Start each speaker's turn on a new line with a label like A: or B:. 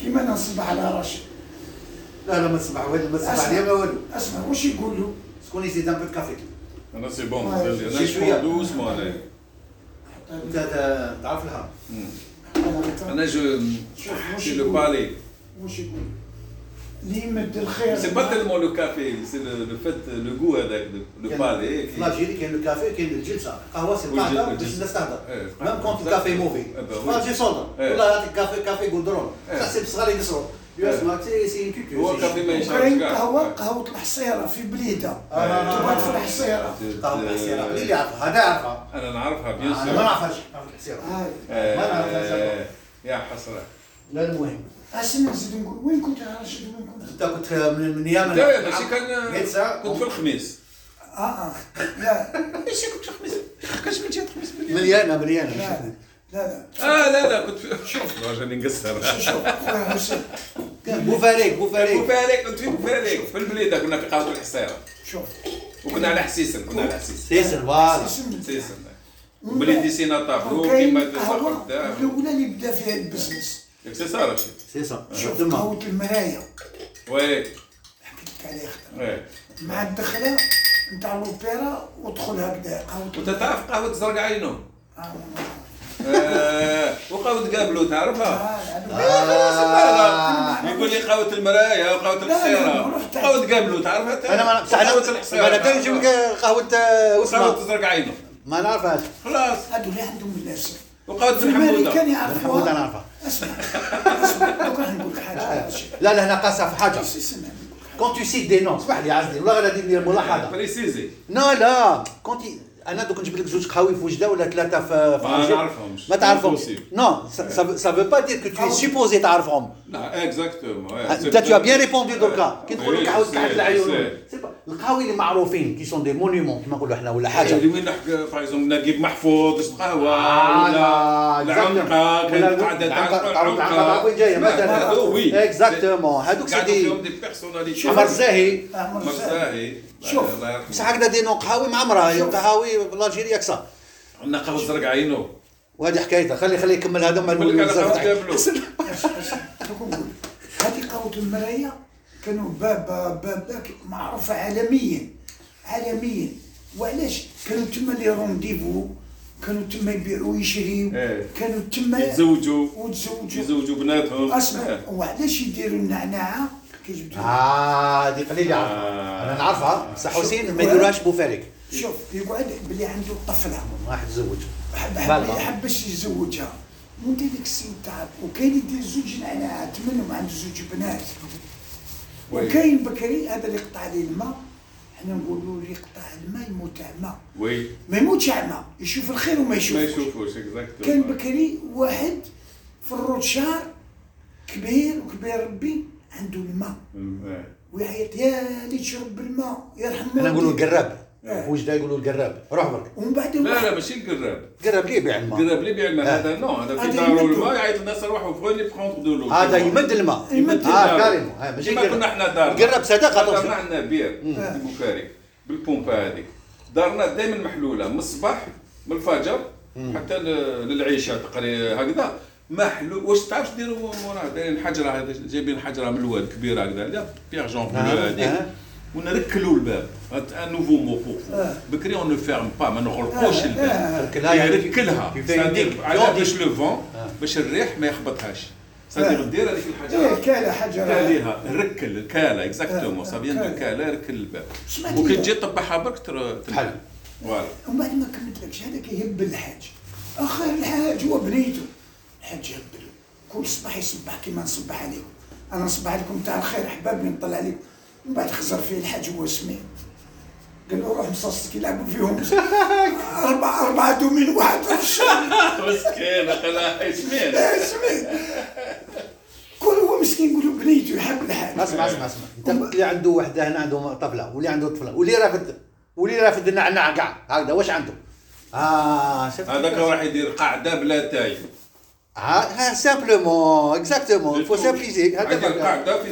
A: كيما انا نصبح على راشد
B: لا لا ما تصبح والو ما تصبح
A: أسمع.
B: عليهم لا والو
A: اسمع واش يقول له
B: شكون يزيد ان بو دو كافي
C: انا سي
A: Ouais.
C: بون انا
B: J'ai joué à-
C: شكون دوسمو عليه
B: انت تا- تعرف لها
C: انا جو
A: شوف واش
C: سي لو
A: يقول
C: بالي
A: واش يقول اللي يمد الخير
C: سي با تيلمون لو كافي سي لو فات لو جو هذاك لو بالي
B: في لالجيري كاين لو كافي كاين الجلسه قهوه سي
C: والجل-
B: القعده باش
C: الجلسة.
B: الناس تهضر
C: إيه.
B: ميم كون الكافي موفي
C: إيه بقى،
B: ما تجي صودا
C: إيه.
B: والله يعطيك كافي كافي غودرون
C: إيه.
B: صح سي الصغار يكسروا يو
C: إيه.
B: اسمع سي سي إن كوتور،
C: هو
B: سي
C: كافي ما يشربش
A: وكاين
C: كاع
A: قهوه قهوه الحصيره في بليده
B: آه.
A: تبات في الحصيره
C: euh,
B: قهوه الحسيره اللي يعرفها هذا يعرفها
C: انا نعرفها بيان
B: انا ما
C: سور
B: نعرفهاش قهوه الحسيره
A: هاي
C: Euh,
B: ما نعرفهاش
C: يا حسره
B: لا المهم
A: اسمع نزيد نقول وين كنت يا راشد وين كنت
B: انت كنت من من يامن
C: لا ماشي كان
B: قلت ساعة.
C: كنت في الخميس
A: اه اه لا
C: ماشي كنت في الخميس كاش من جهه الخميس
B: مليانه مليانه
A: لا لا
C: اه لا لا كنت في شوف راني نقصر
A: لا شوف خويا حسين
B: بوفاريك بوفاريك
C: بوفاليك كنت في بوفاليك في البليده كنا في قهوه الحصيره
A: شوف
C: وكنا على حسيسن كنا على حسيسن
B: سيسر فوالا
A: اسم-
C: حسيسن بليدي سينا طابلو
A: وكاين
C: كيما
A: قهوه
C: تسافر
A: الاولى اللي بدا فيها البزنس
C: سي سا رشيد
B: سيسر شوف
A: شوف
B: تما
A: قهوه المرايه
C: وي
A: حكيت لك عليها خطر
C: وي.
A: مع الدخله نتاع الاوبرا ودخل هكذا قهوه
C: وانت تعرف قهوه زرق عينو
A: آه،
C: آه، وقهوه قابلو تعرفها
A: آه،
C: آه، خلاص
B: آه.
C: بلغها. يقول لي قهوه المرايه وقهوه الحصيره
A: لا، رحت.
C: قهوه قابلو تعرفها انت؟
B: انا ما بصح
C: وقهوة
B: انا
C: الحصيرة
B: انا تنجم
C: تعرفها.
B: قهوه
C: وقهوه
B: وسمه
C: زرق عينو
B: آه، ما نعرفهاش
C: خلاص
A: هادو اللي عندهم اللاسف
C: وقهوه
A: في
C: بن
A: المالي كان
C: حموده
A: يعرفوها
B: حموده نعرفها
A: اسمع اسمع دوك راح نقول لك حاجه على هذا الشيء
B: لا لا هنا قاسها في حاجه
A: اسمع نقول لك حاجة.
B: كون تو سيت دي نون اسمح لي عزلي ولا غادي ندير ملاحظه
C: بريسيزي
B: لا لا كون تي انا دوك نجبد لك جوج قهاوي في وجده ولا ثلاثه في في
C: ما
B: الجيب.
C: نعرفهمش.
B: ما تعرفهمش
C: Impossible. Ah,
B: نو سا فو با دير كو تو سيبوزي تعرفهم
C: لا اكزاكتومون
B: انت تو بيان ريبوندي دركا كي تقول لك عاود قعدت العيون سي با. القهاوي اللي معروفين كي سون دي مونيمون كيما نقولوا حنا ولا
C: حاجه
B: حاجه
C: اللي وين نحكي باغ اكزومبل نجيب محفوظ شرب
A: آه،
C: قهوه ولا
B: فوالا
C: العنقه كانت قاعده
B: العنقه وين جايه مثلا
C: هذو وي
B: اكزاكتومون هذوك
C: قاعدين
B: سيدي
C: فيهم دي بيرسوناليتي
B: عمر الزاهي
A: عمر الزاهي.
C: مرزاهي
A: شوف.
B: بصح هكذا دي نو قهاوي معمرها قهاوي بالجيري كسا
C: عندنا قهوه زرق عينو
B: وهذه حكايتها خلي خلي يكمل هذا مع
C: نقول لك على قهوه قابلو
A: دوك نقول لك. هذه قهوه المرايه كانوا باب باب باب معروفه عالميا عالميا وعلاش كانوا تما لي رونديفو كانوا تما يبيعوا ويشريوا
C: إيه.
A: كانوا تما
C: يتزوجوا
A: وتزوجوا
C: يزوجوا بناتهم
A: اسمع
C: آه.
A: وعلاش يديروا النعناعه كي يجبدوا
B: اه هذه قليل يعرفها
C: آه.
B: انا نعرفها بصح
A: شوف.
B: حسين ما يديرهاش بوفارك
A: شوف يقعد بلي عنده طفله
B: واحد تزوج
A: حب حب
B: بالغة.
A: يحبش يتزوجها وانت ديك السن تعب وكاين يدير زوج نعناعات منهم عنده زوج بنات
C: وي.
A: وكاين بكري هذا اللي قطع لي الماء حنا نقولوا اللي قطع الماء يموت عمى
C: وي
A: ما يموتش عمى يشوف الخير وما
C: ما
A: يشوفش
C: يشوفوش
A: كان
C: اكزاكتومون
A: بكري واحد في الروت شهر كبير وكبير ربي عنده الماء
C: إيه.
A: ويعيط يا اللي تشرب بالماء يرحم
B: انا نقولوا
A: والديك.
B: القراب
C: إيه.
B: وجده يقولوا القراب روح برك
A: ومن بعد
C: لا لا
A: واحد-
C: ماشي القراب
B: القراب ليه يبيع الماء
C: قرب لي بيع الماء هذا نو هذا في
A: آه. هذا
C: دارو
A: يمدو.
C: الماء يعيط الناس روحوا فوني بخونتر دو لو
B: هذا يمد الماء
A: يمد
B: اه
C: دارو.
B: كاريمو آه، ماشي
C: كيما
B: قراب.
C: كنا احنا دارنا
B: قرب صدق
C: إحنا
B: هذا
C: دارنا عندنا بير في بوكاري بالبومبا هذيك دارنا دائما محلوله من الصباح من الفجر حتى ل- للعشاء تقريبا هكذا محلول واش تعرف ديروا موراه دايرين حجره هذا جايبين حجره من الواد كبيره هكذا لا بيير جون بلو
B: آه،
C: هذيك
B: آه.
C: ونركلوا الباب ان نوفو مو بور فو.
A: آه.
C: بكري اون فيرم با ما نغلقوش الباب
B: تركلها يعني
C: يركلها
B: كيف- كيف
C: صديق
B: يدير
C: على
B: جوندي.
C: باش لو فون
B: آه.
C: باش الريح ما يخبطهاش صديق
A: آه.
C: دير هذيك
A: ايه
C: الحاجه
A: كاله حجر
C: تاليها ركل الكاله
A: آه.
C: اكزاكتومون سا فيان
A: كالة.
C: دو كاله ركل الباب
A: سمعت
C: وكي
A: ليها.
C: تجي تطبعها برك تر-
B: تحل.
C: فوالا
A: ومن بعد ما كملتلكش هذاك يهب الحاج اخر الحاج هو بنيته الحاج يهبل كل صباح يصبح كيما نصبح عليكم انا نصبح عليكم تاع الخير حبابني نطلع عليكم من بعد خزر فيه الحاج هو سمي قال له روح مصاص يلعبوا فيهم اربعه اربعه دومين واحد في الشهر
C: مسكين قال سمين
A: سمي كل هو مسكين يقول له بنيته يحب الحاج
B: اسمع اسمع اسمع انت قلت لي عنده وحده هنا عنده طفله واللي عنده طفله واللي رافد واللي رافد النعناع كاع هكذا واش عنده اه شفت
C: هذاك راح يدير قاعده بلا تاي
B: آه، ها سامبلومون اكزاكتومون فو سامبليزي
C: هذاك
B: هذا
C: قاعده في